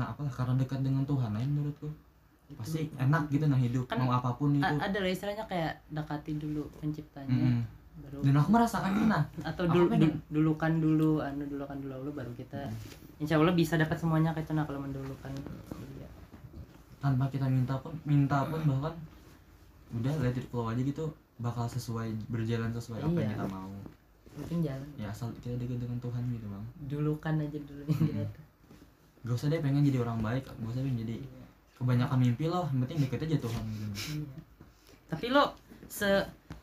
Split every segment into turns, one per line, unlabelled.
apa karena dekat dengan Tuhan aja menurutku pasti enak gitu nah hidup
Hmm. Kan-
mau apapun itu
A- gitu. ada lah istilahnya kayak dekati dulu penciptanya
Mm-mm.
baru
Hmm. dan aku merasakan nah
atau
aku
dulu
pengen-
du- dulukan dulu anu dulukan dulu Allah, baru kita
Hmm.
insya Allah bisa dapat semuanya kayak itu nah kalau mendulukan iya.
tanpa kita minta pun minta pun bahkan udah let it flow aja gitu bakal sesuai berjalan sesuai apa yang
Iya.
kita mau
mungkin jalan
ya Hmm. asal kita dekat dengan Tuhan gitu bang
dulukan aja dulu gitu.
Mm-mm. gak usah deh pengen jadi orang baik gak usah pengen jadi kebanyakan mimpi loh yang penting deket aja Tuhan gitu
Iya. Tapi lo se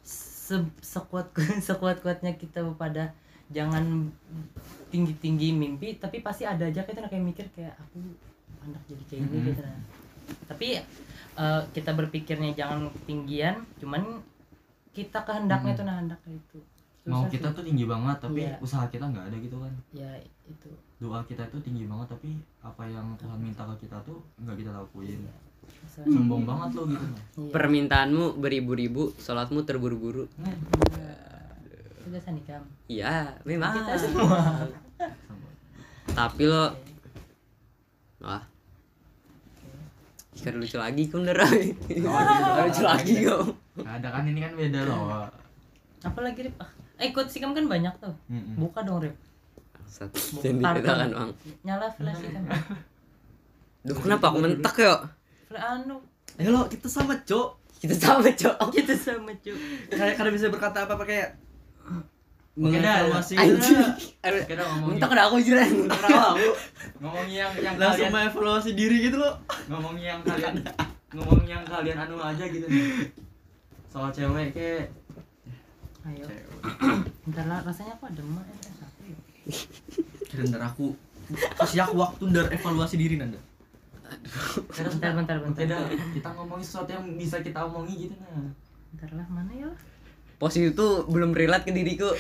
se sekuat sekuat kuatnya kita pada jangan tinggi tinggi mimpi tapi pasti ada aja kita kayak mikir kayak aku anak jadi kayak gini
Mhm.
gitu nah. tapi eh, kita berpikirnya jangan ketinggian cuman kita kehendaknya
Mhm.
tuh nah hendak itu
mau
Susah
kita
sih.
tuh tinggi banget tapi
Iya.
usaha kita nggak ada gitu kan
ya itu
doa kita tuh tinggi banget tapi apa yang Tuhan minta ke kita tuh nggak kita lakuin
Iya. Susah.
sombong banget lo gitu nah.
Iya.
Permintaanmu beribu-ribu, sholatmu terburu-buru.
Nah,
Itu biasa nih Kam.
Iya, memang.
kita semua
sombong.
Tapi lo Wah. Ikan lucu lagi kunder. lucu lagi kok.
Nggak ada kan ini kan beda loh
apalagi Rip ah, eh ikut sikam kan banyak tuh
Mm-mm.
buka dong Rip
Satu
Bukan.
jadi kita kan bang.
nyala flash
Mm.
sikam
Duh kenapa aku mentek yo?
Flash anu
Ya lo kita sama cok
Kita sama cok.
kita sama cuy
kayak kadang bisa berkata apa pakai
Oke, dah.
mengevaluasi
Anjing.
Nah,
Aduh,
kita ngomongin
Mentek dah aku jiran.
kenapa aku
ngomongin yang yang kalian
langsung mengevaluasi diri gitu lo
ngomongin yang kalian ngomongin yang kalian anu aja gitu nih soal cewek kayak
ayo Bentar lah, rasanya kok ada emak eh, apa ya?
kira ntar aku siap waktu ntar evaluasi diri nanda
Bentar, bentar,
Oke,
bentar.
dah. kita ngomongin sesuatu yang bisa kita omongin gitu nah
Bentar lah, mana ya? lah?
Pos itu tuh belum relate ke diriku.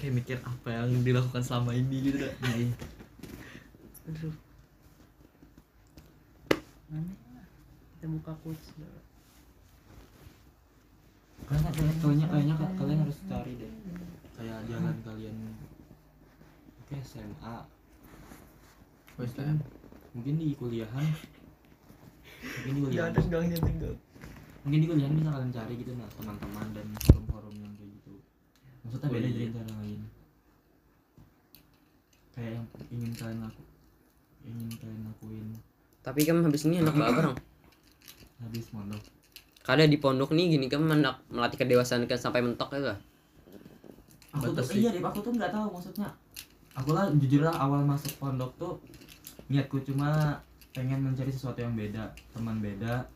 kayak mikir apa yang dilakukan selama ini gitu
Nah,
dah
Aduh. Mana ya? lah? Kita buka quotes dulu.
kalian kalian kayaknya kayaknya ka- kalian harus cari deh kayak jalan kalian oke SMA mungkin, mungkin di kuliahan mungkin di kuliahan
dong nyentik dong
mungkin di kuliahan bisa kalian cari gitu nah teman-teman dan forum-forum yang kayak gitu maksudnya
Oh,
beda
iya.
dari cara lain kayak yang ingin kalian laku ingin kalian lakuin
Tapi kan habis ini enak banget orang.
habis mondok
Kadang di pondok nih gini kan menak- melatih kedewasaan kan sampai mentok itu.
aku tuh
Batas sih.
iya deh aku tuh nggak tahu maksudnya aku lah jujur lah awal masuk pondok tuh niatku cuma pengen mencari sesuatu yang beda teman beda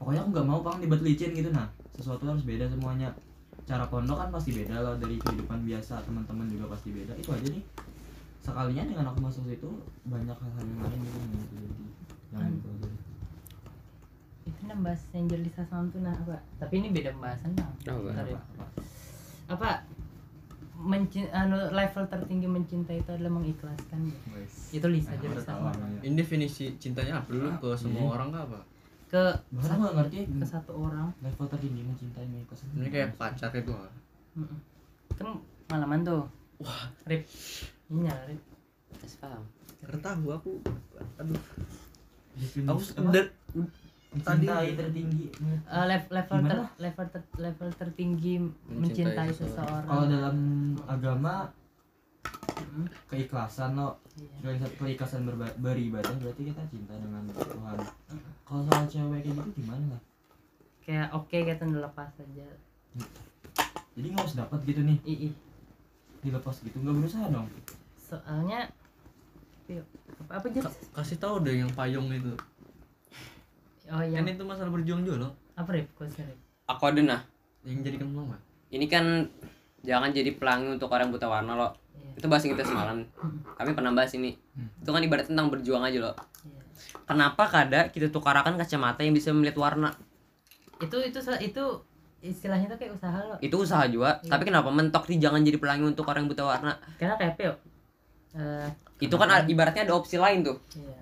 pokoknya aku nggak mau pang dibet licin gitu nah sesuatu harus beda semuanya cara pondok kan pasti beda lah dari kehidupan biasa teman-teman juga pasti beda itu aja nih sekalinya dengan aku masuk situ banyak hal-hal yang lain gitu yang gitu jadi yang
Hmm.
gitu aja.
Itu nah bahas yang jadi sasam tuh nah apa? Tapi ini beda pembahasan bang.
Apa?
Bentar ya.
Oh, Apa- apa.
Apa? Mencin, anu, level tertinggi mencinta itu adalah mengikhlaskan. ya. Itu
Nah,
Lisa aja
aku udah tahu
bersama.
namanya.
ini definisi cintanya apa dulu ke semua
Iya.
orang gak apa
Ke
Bahkan aku nggak ngerti
ke satu orang.
level tertinggi mencintai mereka
ini kayak pacar gitu ah.
Mm-mm. Kan malaman tuh. Wah, Rip. Ini nyala Rip.
Kertahu aku aduh
Definisi-
aku
apa?
sekedar tadi-
mencintai tertinggi
Eh, lev- level ter,
Gimana?
level ter, level tertinggi mencintai,
Mencintai
seseorang.
kalau dalam agama
Mm-mm.
keikhlasan lo
Iya.
keikhlasan- keikhlasan berba- beribadah berarti kita cinta dengan Tuhan kalau soal cewek kayak gitu gimana lah
Kayak oke kita ngelepas aja.
jadi nggak harus dapat gitu nih
Ih, ih.
dilepas gitu nggak berusaha dong
soalnya Yuk, apa gitu? apa jadi?
Ka- kasih tahu deh yang payung itu
Oh iya.
kan itu masalah berjuang juga loh
Apa Rip? Quotesnya, Rip?
Aku ada nah.
yang jadikan mama
Ini kan jangan jadi pelangi untuk orang buta warna lo.
Iya.
Itu bahas yang kita semalam. Kami pernah bahas ini. Itu kan ibarat tentang berjuang aja lo.
Iya.
Kenapa kada kita tukarakan kacamata yang bisa melihat warna?
Itu itu so- itu istilahnya tuh kayak usaha lo.
Itu usaha juga,
Iya.
tapi kenapa mentok di jangan jadi pelangi untuk orang buta warna?
Karena kayak Pio. Eh,
Itu kan a- ibaratnya ada opsi lain tuh.
iya.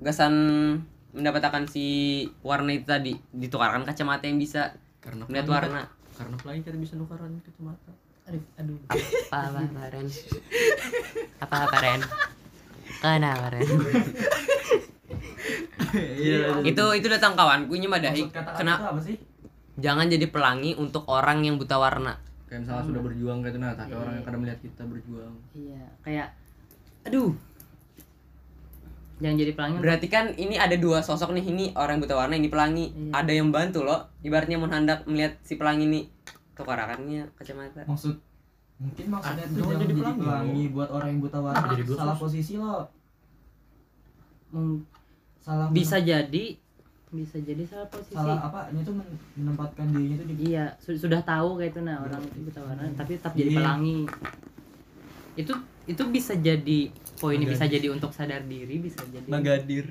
Gasan mendapatkan si warna itu tadi ditukarkan kacamata yang bisa
karena
melihat
pelangi
warna.
kan- karena pelangi kita bisa nukaran kacamata
aduh aduh
apa apa apa Ren apa apa Ren kenapa Ren
Iya.
itu itu datang kawanku nyemadahi
Maksud kata-kata
kena
itu apa sih?
jangan jadi pelangi untuk orang yang buta warna
Kayak misalnya sudah berjuang kayak itu nah, tapi
Iya.
orang yang kadang melihat kita berjuang.
iya kayak aduh jangan jadi pelangi
berarti kan ini ada dua sosok nih ini orang yang buta warna ini pelangi
Iya.
ada yang bantu loh ibaratnya mau hendak melihat si pelangi ini tukarakannya kacamata
Maksud mungkin maksudnya
Ah,
itu
jangan
jangan
jadi
jadi
pelangi,
pelangi buat orang yang buta warna.
Kenapa jadi gua
Salah
sus?
posisi lo.
Mung-
Salah
bisa jadi bisa jadi salah posisi
salah apa? Ini tuh men- menempatkan dirinya tuh di
iya su- sudah tahu kayak itu nah orang itu buta warna tapi tetap jadi
Iya.
pelangi itu itu bisa jadi poinnya bisa
Menggadis.
jadi untuk sadar diri bisa jadi
Menggadir.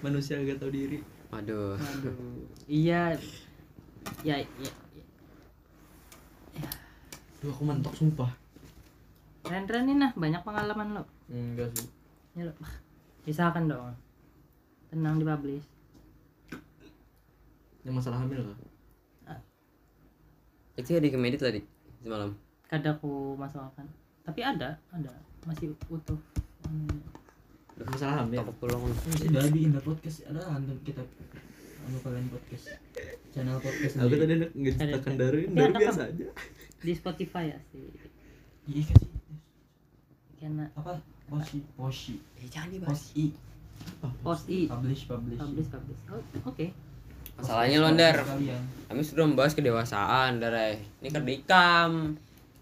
Manusia gak tahu diri.
waduh
Aduh. iya ya, ya, ya.
Duh, aku mentok sumpah.
Ren Ren nih nah banyak pengalaman lo
Enggak sih.
Ya, lo. Pisahkan dong tenang dipublish
Ini masalah hamil kah?
itu ada komedi tuh tadi semalam
kadaku masuk akan tapi ada ada masih utuh Hmm.
Masalah hamil.
toko pulang
sudah di Indah Podcast ada hantu kita anu kalian podcast channel podcast
Aku
sendiri.
tadi anak nggak
Ada-
ciptakan dari,
Tapi
dari
ada
biasa
kan?
aja.
di Spotify ya sih
Iya kan sih?
karena
Apa? Posi, posi,
eh jangan dibahas
posi,
post i
publish, publish.
publish publish oh, oke
masalahnya lo Dar
Kalian.
kami sudah membahas kedewasaan Darai ini kan kerdikam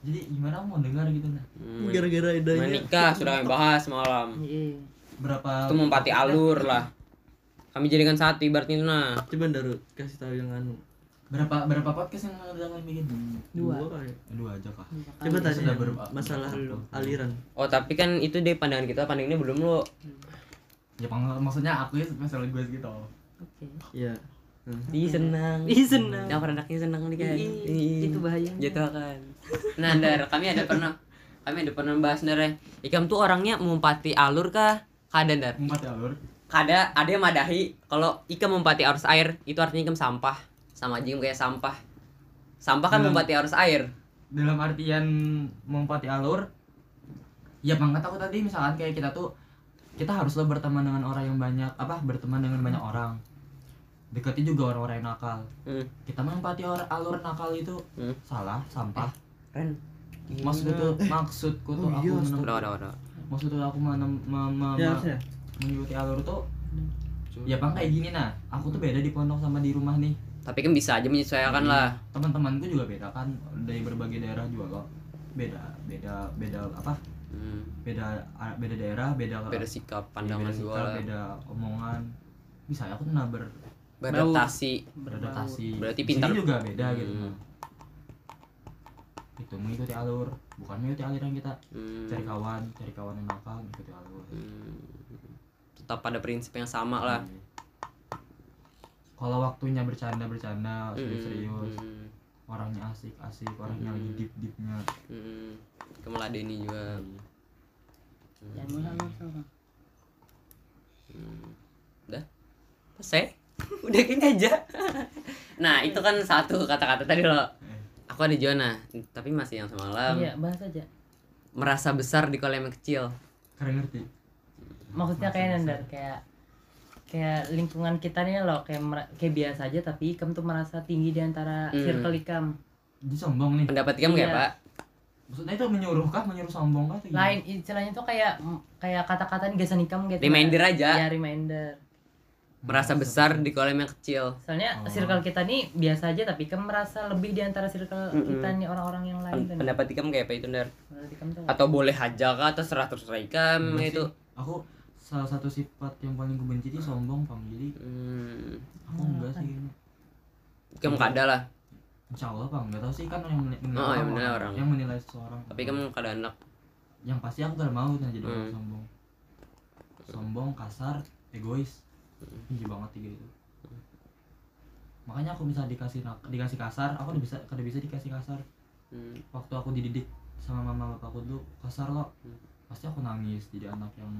Jadi gimana mau dengar gitu nah?
Hmm,
Gara-gara adanya.
menikah sudah kami bahas malam
Iya.
Berapa
itu mempati alur lah kami jadikan satu ibaratnya itu nah
Coba Daru kasih tahu yang anu.
berapa berapa podcast yang udah kalian bikin?
Dua.
Dua kali.
Dua aja kah?
Iya,
Coba
kan?
Sudah
tanya yang
berapa?
masalah
Belum.
aliran.
oh tapi kan itu deh pandangan kita pandangnya belum lo
Ya pang- maksudnya aku ya masalah gue gitu.
Oke.
Iya. Hmm.
Ih senang
Ih, senang.
yang anaknya senang nih kan
Ih, Itu bahayanya.
kan nah Dar kami ada pernah kami ada pernah bahas Dar ya. Ikam tuh orangnya mempati alur kah kada Dar
Empat ya, alur.
kada ada yang madahi kalau Ikam mempati arus air itu artinya Ikam sampah sama aja Ikam kayak sampah sampah kan
Hmm.
mempati arus air
Dalam artian mempati alur. Ya banget aku tadi misalkan kayak kita tuh kita harus lo berteman dengan orang yang banyak apa berteman dengan banyak orang dekatnya juga orang-orang yang nakal
Hmm.
kita menempati or- alur nakal itu
Hmm. Eh,
salah sampah
Ren
maksudku tuh maksudku tuh
Oh
aku
iya,
menem-
udah udah udah
maksud tuh aku menem- me- me- me-
Ya harusnya.
mengikuti alur tuh ya bang kayak gini nah aku tuh beda di pondok sama di rumah nih
tapi kan bisa aja menyesuaikan lah
teman-temanku juga beda kan dari berbagai daerah juga kok beda beda beda apa
hmm. Iya,
beda beda daerah beda
beda sikap
beda
pandangan
sikap,
gua lah
beda omongan bisa aku tuh nah ber,
beradaptasi
beradaptasi
Berarti
Di
pintar.
sini juga beda gitu
Hmm.
nah. itu mengikuti alur bukan mengikuti aliran kita
Hmm.
cari kawan cari kawan yang nakal mengikuti alur
Hmm. tetap pada prinsip yang sama lah
Iya. kalau waktunya bercanda bercanda serius serius
Hmm.
orangnya asik asik orangnya lagi
Hmm.
deep deepnya
Hmm. kemeladeni juga Iya,
Jangan mulai lu, Sal.
Hmm. Udah? Selesai? Udah gini aja. nah, itu kan satu kata-kata tadi lo. Aku ada Jona, tapi masih yang semalam.
Hmm. Iya, bahas aja.
Merasa besar di kolam yang kecil.
keren ngerti
Maksudnya
Bahasa
kayak
bahasa.
Nandar kayak kayak lingkungan kita nih loh kayak mer- kayak biasa aja tapi ikam tuh merasa tinggi di antara
Hmm.
circle ikam.
dia sombong nih
Pendapat kamu kayak
Iya.
Pak?
maksudnya itu menyuruh kah menyuruh sombong
Iya.
kah atau gimana?
Lain istilahnya tuh kayak kayak kata-kata nih gasan ikam gitu.
Reminder aja.
Ya reminder.
Merasa besar di kolam yang kecil.
Soalnya
Oh.
circle kita nih biasa aja tapi ikam merasa lebih di antara circle
Mm-mm.
kita nih orang-orang yang lain.
Pen-
kan.
Hmm, Pendapat kamu kayak apa itu, Dar?
Menurut ikam tuh.
Atau boleh aja kah atau serah terus ikam
Enggak
itu?
Iya sih. aku salah satu sifat yang paling gue benci itu sombong pam jadi
Hmm.
aku enggak sih
Kamu kada lah,
insya Allah pam enggak tahu sih kan yang menilai,
Oh, yang menilai orang.
yang menilai seorang
tapi kamu kada anak.
yang pasti aku gak mau nah, jadi orang
Hmm.
sombong sombong kasar egois tinggi banget tiga itu makanya aku bisa dikasih nak- dikasih kasar aku udah bisa kada bisa dikasih kasar
Hmm.
waktu aku dididik sama mama bapakku dulu kasar lo
Hmm.
pasti aku nangis jadi anak yang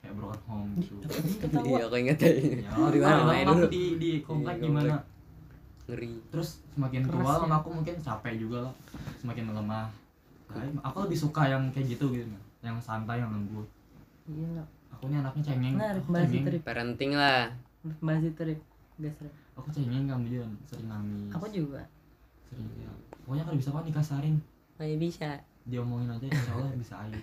kayak broken home gitu
Ketawa.
Iya, aku ingat tadi.
ya
Di mana
mama
main
aku
dulu?
di di komplek
Iya, komplek.
gimana
Ngeri.
terus semakin
Keras
tua
ya.
mama aku mungkin capek juga lah semakin melemah Kayak, aku lebih suka yang kayak gitu gitu Nah. yang santai yang lembut
iya lah
aku ini anaknya cengeng
nah
aku
bahas itu
gitu
cengeng
Rip.
parenting lah
bahas itu Rip. Gas, Rip.
aku cengeng kamu Jun sering nangis
aku juga
sering ya pokoknya kalau bisa kan dikasarin
Kayak bisa
diomongin aja insya Allah bisa air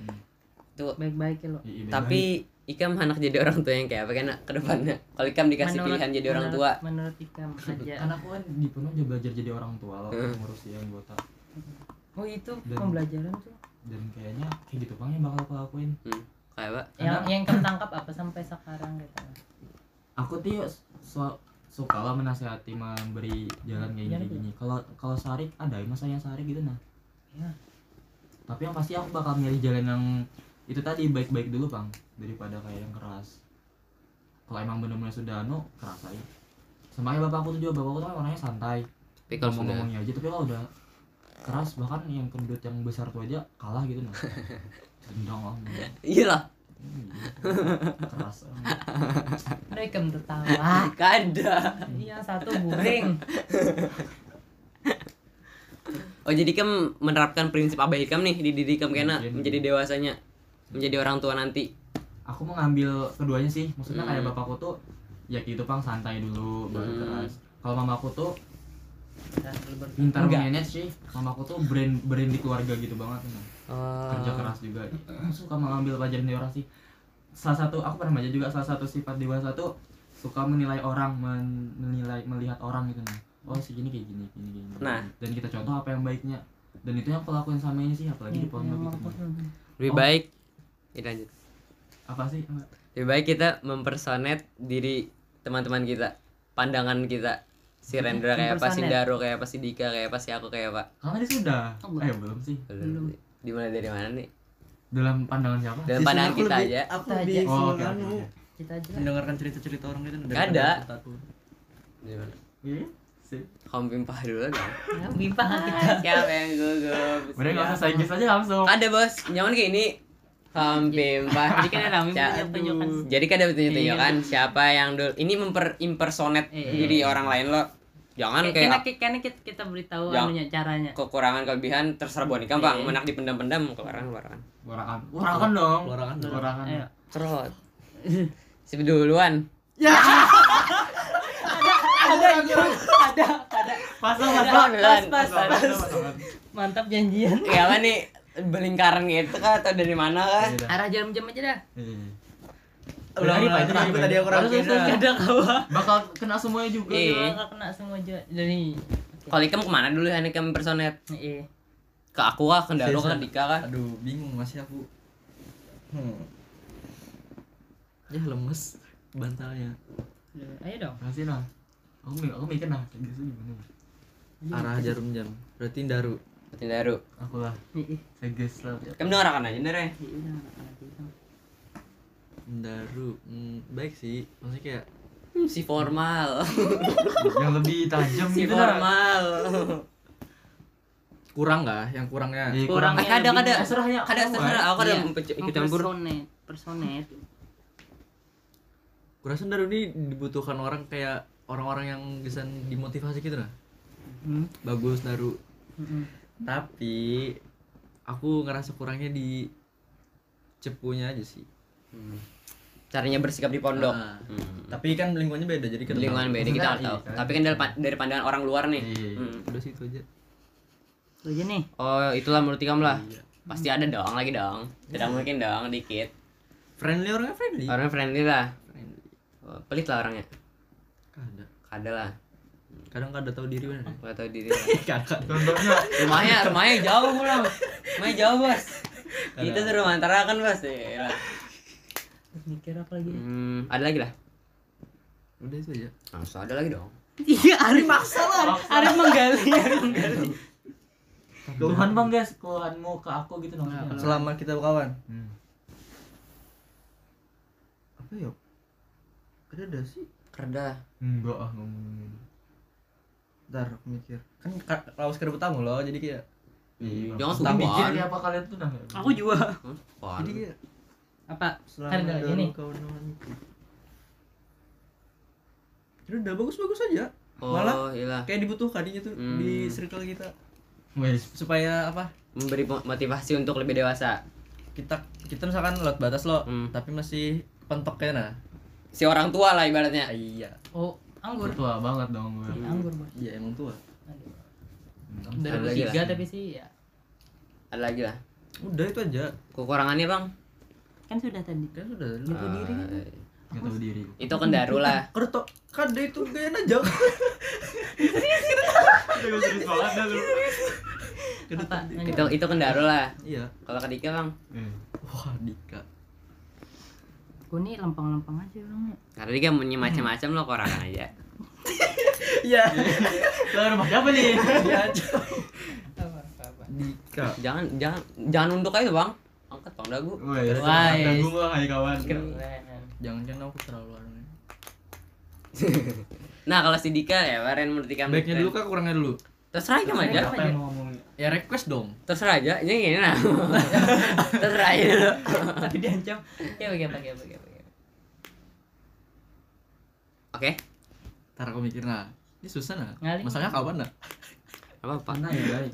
baik-baik ya lo
Iya, iya,
tapi Ikam anak jadi orang tua yang kayak apa kan ke depannya kalau Ikam dikasih
Menurut-
pilihan jadi orang tua
menurut- menurut ikam
baik.
aja
kan aku kan di penuh udah belajar jadi orang tua loh
Hmm.
ngurus dia anggota
oh itu
Dan-
pembelajaran tuh
dan kayaknya kayak gitu bang yang bakal aku lakuin
kayak apa
yang
Kadang-
yang kamu tangkap apa sampai sekarang gitu
aku tuh yuk so, suka lah menasehati memberi jalan kayak
Jalan
gini gini kalau kalau sarik ada masa yang sarik gitu nah
Ya.
tapi yang pasti aku bakal milih jalan yang itu tadi baik-baik dulu bang daripada kayak yang keras kalau emang bener-bener sudah anu keras aja sama kayak bapak aku tuh juga bapak aku tuh kan orangnya santai
tapi kalau
ngomong
sudah
ngomongnya aja tapi kalau udah keras bahkan yang kendut yang besar tuh aja kalah gitu nah tendang lah gitu.
iyalah
Hmm, gitu. keras
ada ikam tertawa
gak ada
iya satu buring
oh jadi Ikam menerapkan prinsip abah Ikam nih di diri Ikam kena
Mungkin.
menjadi dewasanya menjadi orang tua nanti
aku mau ngambil keduanya sih maksudnya
Hmm.
kayak bapakku tuh ya gitu bang santai dulu baru
Hmm.
keras kalau mamaku tuh
Nah, lu ber-
pintar
Enggak.
manage sih mamaku tuh brand brand di keluarga gitu banget Nah.
Ah.
kerja keras juga Aku suka mengambil pelajaran dari orang sih salah satu aku pernah baca juga salah satu sifat dewasa tuh suka menilai orang men- menilai melihat orang gitu nah oh segini kayak gini gini gini
Nah.
dan kita contoh apa yang baiknya dan itu yang aku lakuin sama ini sih apalagi
Iya,
di pondok gitu Nah.
Hmm,
lebih
Oh.
baik ya, lanjut
apa sih
lebih baik kita mempersonet diri teman-teman kita pandangan kita si Rendra kayak apa si
Mempersonet.
Daro kayak apa si Dika kayak apa si aku kayak apa
karena dia sudah
Allah.
eh belum sih
belum dimulai dari mana nih
dalam pandangan siapa
dalam pandangan kita aja
Aku
Kita
lebih
aja.
Oh,
seneng
oke, oke,
anu,
oke.
kita aja lah.
mendengarkan cerita-cerita orang itu
Gak ada.
aku.
Dari mana?
Iya, sip.
Kaum pimpah dulu dong
Ya, bimbang kita
Siapa yang Ya, gugup?
Udah nggak usah
Siapa?
saintis aja langsung.
Ada bos, nyaman kayak ini. Hampir pak.
Jadi kan ada tunjuk-tunjukan.
Jadi kan ada tunjuk-tunjukan siapa yang dul. Ini memper impersonate
Iya.
diri orang lain lo. Jangan
karena,
kayak
karena kita, kita beritahu
Ya.
anunya caranya
kekurangan kelebihan terserbuan ikan bang.
Iya.
Menak dipendam-pendam keluaran keluaran.
Warakan, warakan dong. Iya.
Warakan dong.
warakan.
Ayo.
Cerot. Si duluan.
Ya. Pasang,
Duluan,
pasang.
duluan.
Pasang, pasang.
mantap janjian
Ya apa nih berlingkaran gitu kah atau dari mana kah?
Iya, dah.
arah jam-jam aja dah
Iya, iya.
Ulang
Dari, Pak,
lagi
dari,
aku
Pak.
tadi aku
Harus, harus,
rangkaian.
harus.
ada kawan
Bakal kena semuanya juga.
Iya.
Gua nggak kena semua aja dari
Kalau ikan kemana dulu yang ikan impersonate?
Iya.
Ke aku kah? Ke Daro kah?
Sisa.
Dika kah?
Aduh, bingung masih aku. Hmm. Ya lemes bantalnya.
ayo dong
Kasih nah. Aku mikir, aku mikir nah. Kayak gitu gimana? ya?
Arah jarum jam. Berarti Daru.
Ke Daro.
Aku lah.
Iya,
Seges lah.
Kamu dengar akan aja Daro
iya,
ya?
iya, iya.
Daru. Hmm, baik sih. Maksudnya kayak
Hmm, si formal.
Yang lebih tajam
si
gitu lah.
formal.
kurang nggak yang kurangnya?
Iya,
Kurang.
kurang.
Eh, ada
lebih-
ada.
Eh, serah ya,
Ada
kamu,
serah. Aku ada
Iya.
mempe- ikut campur.
Mempersonet, personet
Kurasa Daru ini dibutuhkan orang kayak orang-orang yang bisa dimotivasi gitu nah.
Hmm.
Bagus Daru.
Mm-mm.
Tapi aku ngerasa kurangnya di cepunya aja sih.
Hmm. Caranya bersikap di pondok.
Ah.
Hmm.
Tapi kan lingkungannya beda jadi kita
Lingkungan beda kita nggak
Iya,
tahu.
kan.
Tapi kan dari, pa- dari pandangan orang luar nih.
Iya.
Hmm.
udah situ aja.
Tuh aja nih
Oh, itulah menurut kamu lah. Pasti ada dong lagi dong. Tidak mungkin dong dikit.
Friendly orangnya friendly.
Orangnya friendly lah.
Iya. friendly.
Oh, Pelit lah orangnya.
Kada.
Kada lah.
Kadang kada tahu diri ya? mana.
Gak tahu diri. lah.
Kada.
Contohnya
rumahnya rumahnya jauh pulang. Rumahnya jauh, Bos. Kita suruh antara kan, Bos. Ya, lah.
mikir apa lagi
Hmm, ada lagi lah.
Udah itu aja.
Harus ada lagi dong.
iya Arif maksa lah Arif menggali Arif menggali
keluhan bang guys, keluhanmu ke aku gitu dong.
Selama kita berkawan.
Hmm.
Apa ya? Kada ada sih.
Kerda.
Enggak ah ngomongin.
Ntar aku mikir. Kan ka- lawas kada bertamu loh jadi kayak
Iya.
Jangan
Tapi
sumbang.
mikir ya, apa kalian tuh nah?
aku juga
Hmm,
jadi
apaan?
kayak
apa
selama
Kada,
dalam
gini.
kawan-kawanku. Jadi udah bagus-bagus aja. Malah
Oh, iya lah.
kayak dibutuhkan gitu
Hmm.
di circle kita.
Wes.
supaya apa
memberi mo- motivasi untuk lebih dewasa
kita kita misalkan lewat batas lo
Hmm.
tapi masih penteknya nah
si orang tua lah ibaratnya
iya
oh anggur
Tua banget dong gue.
Iya, anggur bang
iya emang tua
Aduh.
Hmm.
Ada
dari
lagi
tiga
lah.
tapi sih ya
ada lagi lah
udah itu aja
kekurangannya bang
kan sudah tadi
kan udah
Nyatu diri gitu.
Eh,
Gak tahu diri.
itu kan daru lah
kerto kade itu gayanya aja
Udah serius banget dah lu.
Kade
Apa?
tadi.
Nanya.
itu itu kan daru lah
iya
kalau ketika bang
Eh.
wah Dika
gue nih lempeng-lempeng aja orangnya
karena dia
Hmm.
punya macam-macam lo kekurangan aja
iya
Ke rumah siapa nih?
iya aja Dika
jangan jangan jangan unduk aja bang angkat bang dagu
Wes.
Wais.
Ada gue hai kawan.
jangan jangan aku terlalu
nah kalau si Dika ya Ren menurut Dika
baiknya dulu kah kurangnya dulu
terserah kamu aja
Apa yang mau ngomongin?
ya request dong
terserah aja ini gini nah terserah aja dulu
tapi diancam ya pakai pakai pakai pakai
oke
ntar aku mikir nah ini susah nah
Ngali.
masalahnya kapan nah
apa apa
Pantai ya, guys.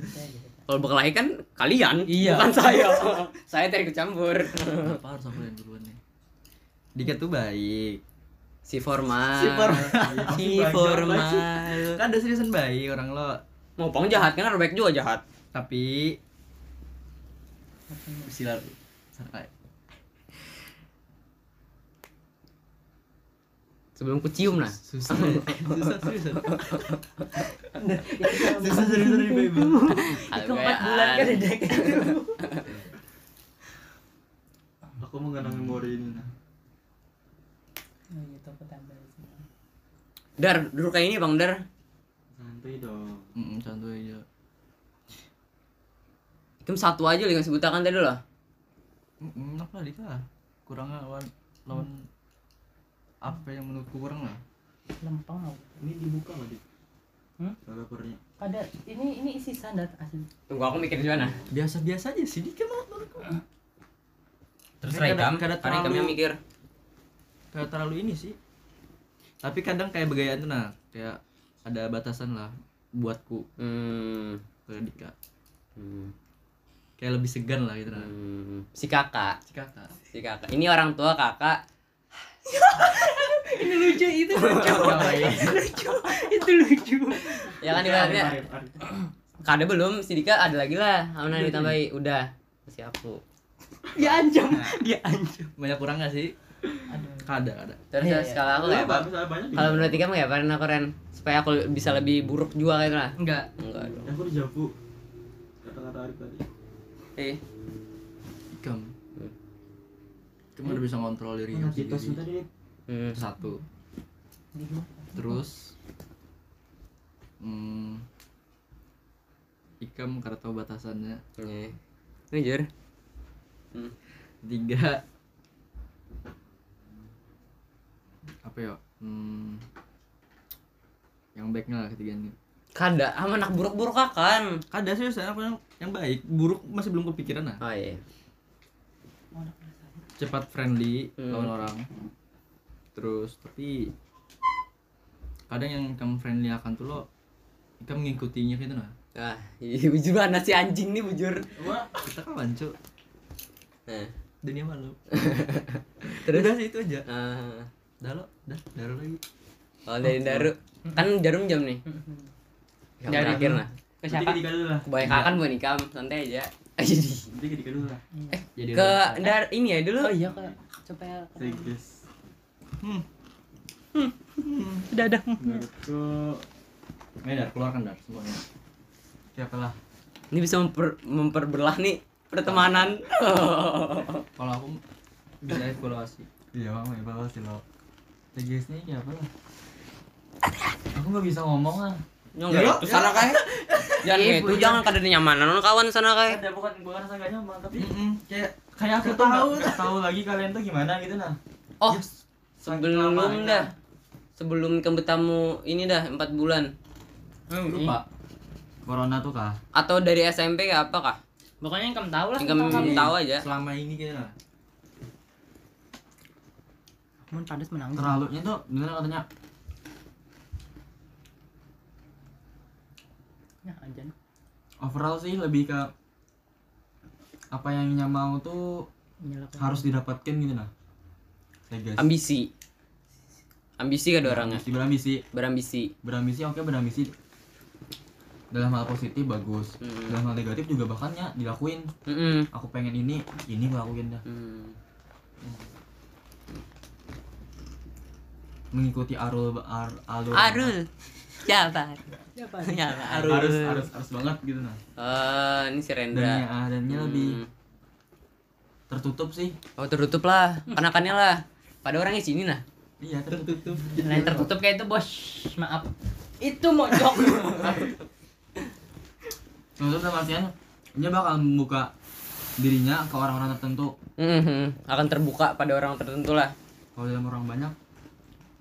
kalau berkelahi kan kalian
Iya.
bukan saya saya tadi kecampur
kenapa harus aku yang duluan nih Dika tuh baik
si formal
Si formal.
si
Pasti banyak
formal
kan ada seriusan baik orang lo
mau pang jahat kan Rebek juga jahat
tapi silar santai
sebelum nah. kucium
Nah,
lah
susah
ya?
susah seriusan
Susah
seriusan baik
Itu empat bulan kan ada kan.
Aku mengenang memori ini. nah.
Oh gitu aku tambahin semua.
dar dulu kayak ini bang dar
Santai dong.
santai aja
itu satu aja yang sebutakan tadi loh
Mm-mm, enak lah Dika kurangnya lawan lawan apa yang menurutku kurang lah
Lempeng aku.
Ini dibuka nggak, Dik?
Hmm?
Kalau pernya.
Pada ini ini isi standar asli.
tunggu aku mikir nah. gimana
biasa biasa aja sih Dika malah menurutku
terus
Kayak
Raikam
kadang- kadang
karena Raikam yang
terlalu-
mikir
kayak terlalu ini sih tapi kadang kayak begayaan tuh nah kayak ada batasan lah buatku
hmm,
ke Dika
hmm,
kayak lebih segan lah gitu nah
hmm. si kakak
si kakak
si kakak ini orang tua kakak
Ini lucu itu lucu. lucu. Itu lucu.
ya kan ibaratnya
Arif, Arif, Arif.
Kada belum, si Dika ada lagi lah. Amna ditambahi, udah. Si aku.
Dia ancam, dia ancam.
banyak kurang gak sih
Aduh.
kada ada
Terus
Iya, iya.
skala aku kayak apa?
Bagus, ada banyak
Kalau menurut Dika mah kayak apa Ren, aku Ren? Supaya aku bisa lebih buruk juga kayak gitu lah.
Enggak.
Enggak dong.
Aku dijabu kata-kata Arif tadi.
Eh,
ikam kamu udah bisa ngontrol diri
Mana kita sih
sendiri
tadi?
hmm.
Itu satu
Di rumah.
terus hmm, ikam karena tahu batasannya
Iya. Ini jujur.
tiga apa ya hmm, yang baiknya lah ketiga ini
Kada, sama anak buruk-buruk kan.
kada sih saya yang, yang baik buruk masih belum kepikiran lah
Oh iya.
Mau Oh, ada perasaan.
cepat friendly
Hmm.
lawan orang terus tapi kadang yang kamu friendly akan tuh lo kamu mengikutinya gitu nah
Ah, iya, bujur banget si anjing nih bujur.
Wah,
kita kawan cuk
Nah,
dunia malu
Terus?
udah sih itu aja
ah,
dah lo dah dah lo lagi
kalau dari Daru, kan jarum jam nih. Yang
Jarum.
terakhir lah.
Ke
nanti
siapa?
ketika dulu lah.
Kebanyakan kan buat nikam, santai aja. Jadi
Nanti ketika dulu lah.
jadi
ke
orang-
Dar ini ya dulu.
Oh iya kak. Coba ya.
Segis.
Udah ada.
Menurutku
Ayo, Dar, keluarkan dar semuanya
siapa lah?
Ini bisa memper, memperbelah nih pertemanan.
kalau aku bisa evaluasi
Iya bang, ya bawa sih lo. Segis nih siapa lah? ya? Aku nggak bisa ngomong lah.
Nyong ya, itu sana kayak. Jangan kayak itu jangan kada ada nyamanan orang kawan sana kayak.
Ada bukan bukan rasa gak nyaman tapi
kayak
kayak aku tuh tahu tahu lagi kalian tuh gimana gitu nah.
Oh,
Yes. nah,
sebelum
Lama-lama.
dah. Sebelum kamu bertemu ini dah 4 bulan
lupa
Corona tuh kah?
atau dari SMP kayak apa kah?
Pokoknya yang kamu tahu lah.
Yang kamu tahu aja.
selama ini
gitu, nah.
kayaknya
Mun padas menangis.
Terlalunya tuh bener katanya
Ya, Nah, anjan.
overall sih lebih ke apa yang Inya mau tuh
Menyalakan.
harus didapatkan gitu nah saya guys
ambisi ambisi gak ada orangnya
Ambisi, berambisi
berambisi
berambisi oke berambisi dalam hal positif bagus
Hmm.
dalam hal negatif juga bahkan ya dilakuin
Mm-mm.
aku pengen ini ini gue lakuin dah
Mm.
mengikuti arul ar, alur
Arul Jabar
Siapa?
Jabar
harus harus harus banget gitu nah
Eh, ini si
dan ya
Rendra
ah, dan ya
Hmm.
lebih tertutup sih
oh tertutup lah kenakannya lah pada orangnya sini nah
iya tertutup
tertutup
Lain tertutup kayak itu bos. Maaf. Itu mojok.
tertutup sama artian dia bakal membuka dirinya ke orang-orang tertentu
Mhm, akan terbuka pada orang tertentu lah
kalau dalam orang banyak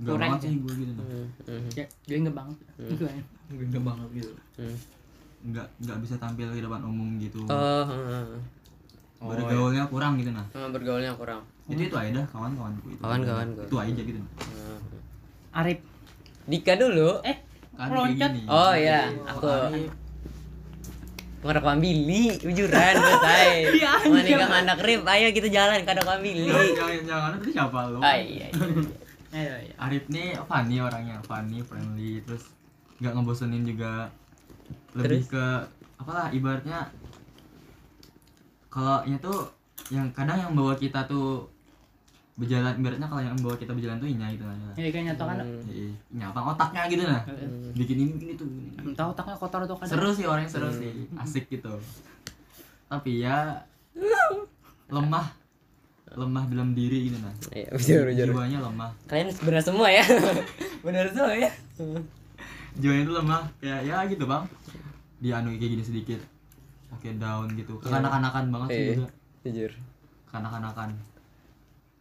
nggak
Kurang
banget
ya.
sih gue gitu nah.
Mhm, mhm,
ya, gue enggak banget.
Hmm.
Gue.
gue banget gitu
mhm.
nggak nggak bisa tampil di depan umum gitu
Oh, heeh.
Oh,
bergaulnya kurang gitu nah
Eh, bergaulnya kurang
itu itu aja dah kawan-kawanku itu
Kawan-kawan gue.
itu aja gitu nah.
Mhm.
Arif.
Dika dulu
Eh,
kan kayak
loncat.
gini
Oh, iya.
aku
Aku-
Arif,
ngarep Billy ujuran selesai
Iya,
mau
anjir.
nikah anak rib ayo kita jalan ke anak Billy Ah, iya,
Jangan- jangan jangan itu siapa lu
Ay, ay, ay.
ayo ya.
Arif nih funny orangnya funny friendly terus nggak ngebosenin juga lebih ke apalah ibaratnya kalau nya tuh yang kadang yang bawa kita tuh berjalan ibaratnya kalau yang bawa kita berjalan tuh inya gitu lah ya.
Ya kayak nyatakan
Hmm.
Iya, nyapa otaknya gitu nah bikin ini bikin itu bikin ini.
entah otaknya Hmm, kotor kan. atau kadang.
seru sih orangnya seru sih asik gitu tapi ya lemah lemah dalam diri gitu nah
Iya, bener, bener.
jiwanya lemah
Kalian benar semua ya. benar semua ya.
jiwanya itu lemah kayak ya gitu bang dianu kayak gini sedikit oke down gitu
Iya.
kekanak-kanakan banget sih
Iya.
juga
Jujur.
kekanak-kanakan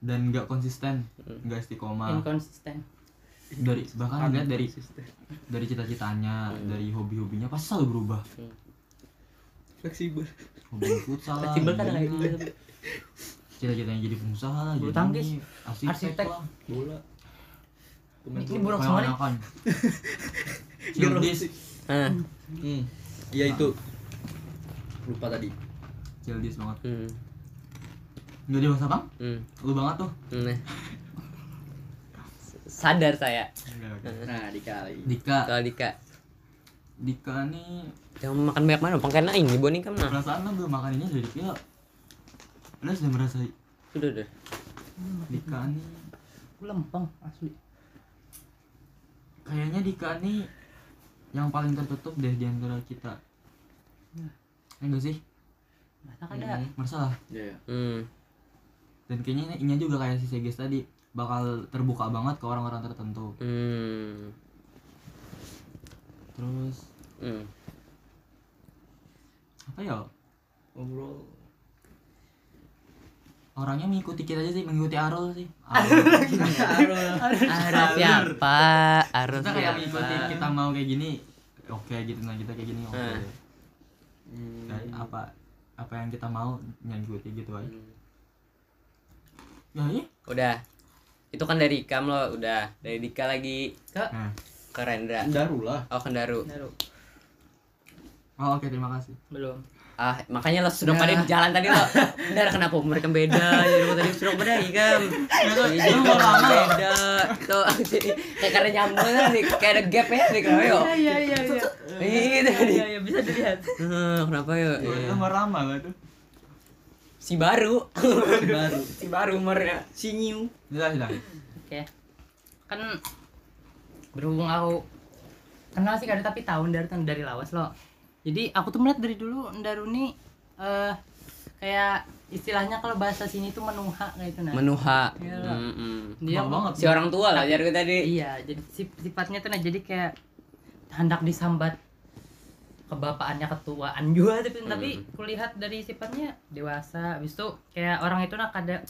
dan nggak konsisten
Hmm.
nggak istiqomah
Inconsistent.
dari bahkan lihat dari dari cita-citanya
Hmm.
dari hobi-hobinya pasti selalu berubah
fleksibel
hobi futsal lah,
Fleksibel kan
hobi
kayak
ini.
gitu.
cita-citanya jadi pengusaha lah
Bulu
jadi
tangkis,
ini, arsitek,
arsitek.
lah
bola
Ini ini
Pemain
buruk semua nih.
kekanak-kanakan
bola.
cildis
Hah.
hmm iya itu lupa tadi
cildis banget
Hmm.
nggak dewasa bang
Hmm.
lu banget tuh
Nah. Sadar saya.
nah dikali
Dika
Kalau Dika
Dika nih
jangan makan banyak mana, pangkain ini boni kan nah.
perasaan lo belum makan ini dari kecil lo sudah merasa
Udah udah.
Dika nih
Hmm, Aku lempeng asli.
kayaknya Dika nih yang paling tertutup deh di antara kita Ya enggak sih
Masa kada.
masalah
ya
Hmm.
dan kayaknya ini juga kayak si Segis tadi bakal terbuka banget ke orang-orang tertentu
Hmm.
terus
Hmm.
apa ya
overall
orangnya mengikuti kita aja sih mengikuti Arul sih Arul.
Arif siapa? Arif
kita
kan.
kayak mengikuti
siapa?
kita mau kayak gini oke gitu nah kita kayak gini oke
Eh. Hmm.
Kayak apa apa yang kita mau ngikuti gitu aja
Hmm.
ya iya
Udah. Itu kan dari Ikam lo udah. Dari Dika lagi
nah
ke Rendra.
daru lah
Oh, Kendaru.
Baru.
Oh, oke terima kasih.
Belum.
Ah, makanya lo sudah pada di jalan tadi lo. Benar kenapa mereka beda? Ya lo tadi sudah pada ikam. Iya,
lu mau lama ya?
beda. Tuh, kayak karena nyambung kan, nih, kayak ada gap ya nih kenapa yo?
Iya iya iya.
Iya gitu tadi.
Iya iya bisa dilihat.
Eh, Kenapa yo?
Itu mau ramah lah tuh.
Si baru.
Si baru
Si baru umurnya.
si new
Jelas jelas.
Oke. Kan berhubung aku kenal sih kada tapi tahun dari tahun dari lawas lo. Jadi aku tuh melihat dari dulu Ndaru nih eh kayak istilahnya kalau bahasa sini tuh menuha kayak itu nah.
Menuha.
Iya lah.
Mm-mm.
Dia
Bang banget.
Si orang tua lah jar gue tadi.
iya, jadi sif- sifatnya tuh nah jadi kayak hendak disambat kebapaannya ketuaan juga tapi tapi kulihat dari sifatnya dewasa habis itu kayak orang itu nah kada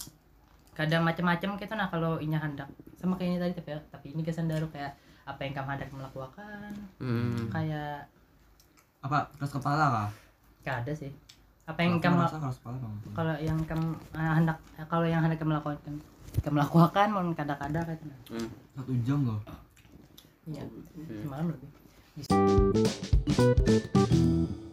kada macam-macam gitu nah kalau inya hendak sama kayak ini tadi tapi tapi ini kesan daru kayak apa yang kamu hendak melakukan
Mm.
kayak
Apa keras kepala kah?
kada sih apa yang
Kalau aku
kamu
merasa keras kepala bang.
kalau yang kamu eh, hendak kalau yang hendak kamu lakukan kamu lakukan mau kada-kada kayak itu nah.
Mm.
Satu jam loh.
Iya, semalam lebih.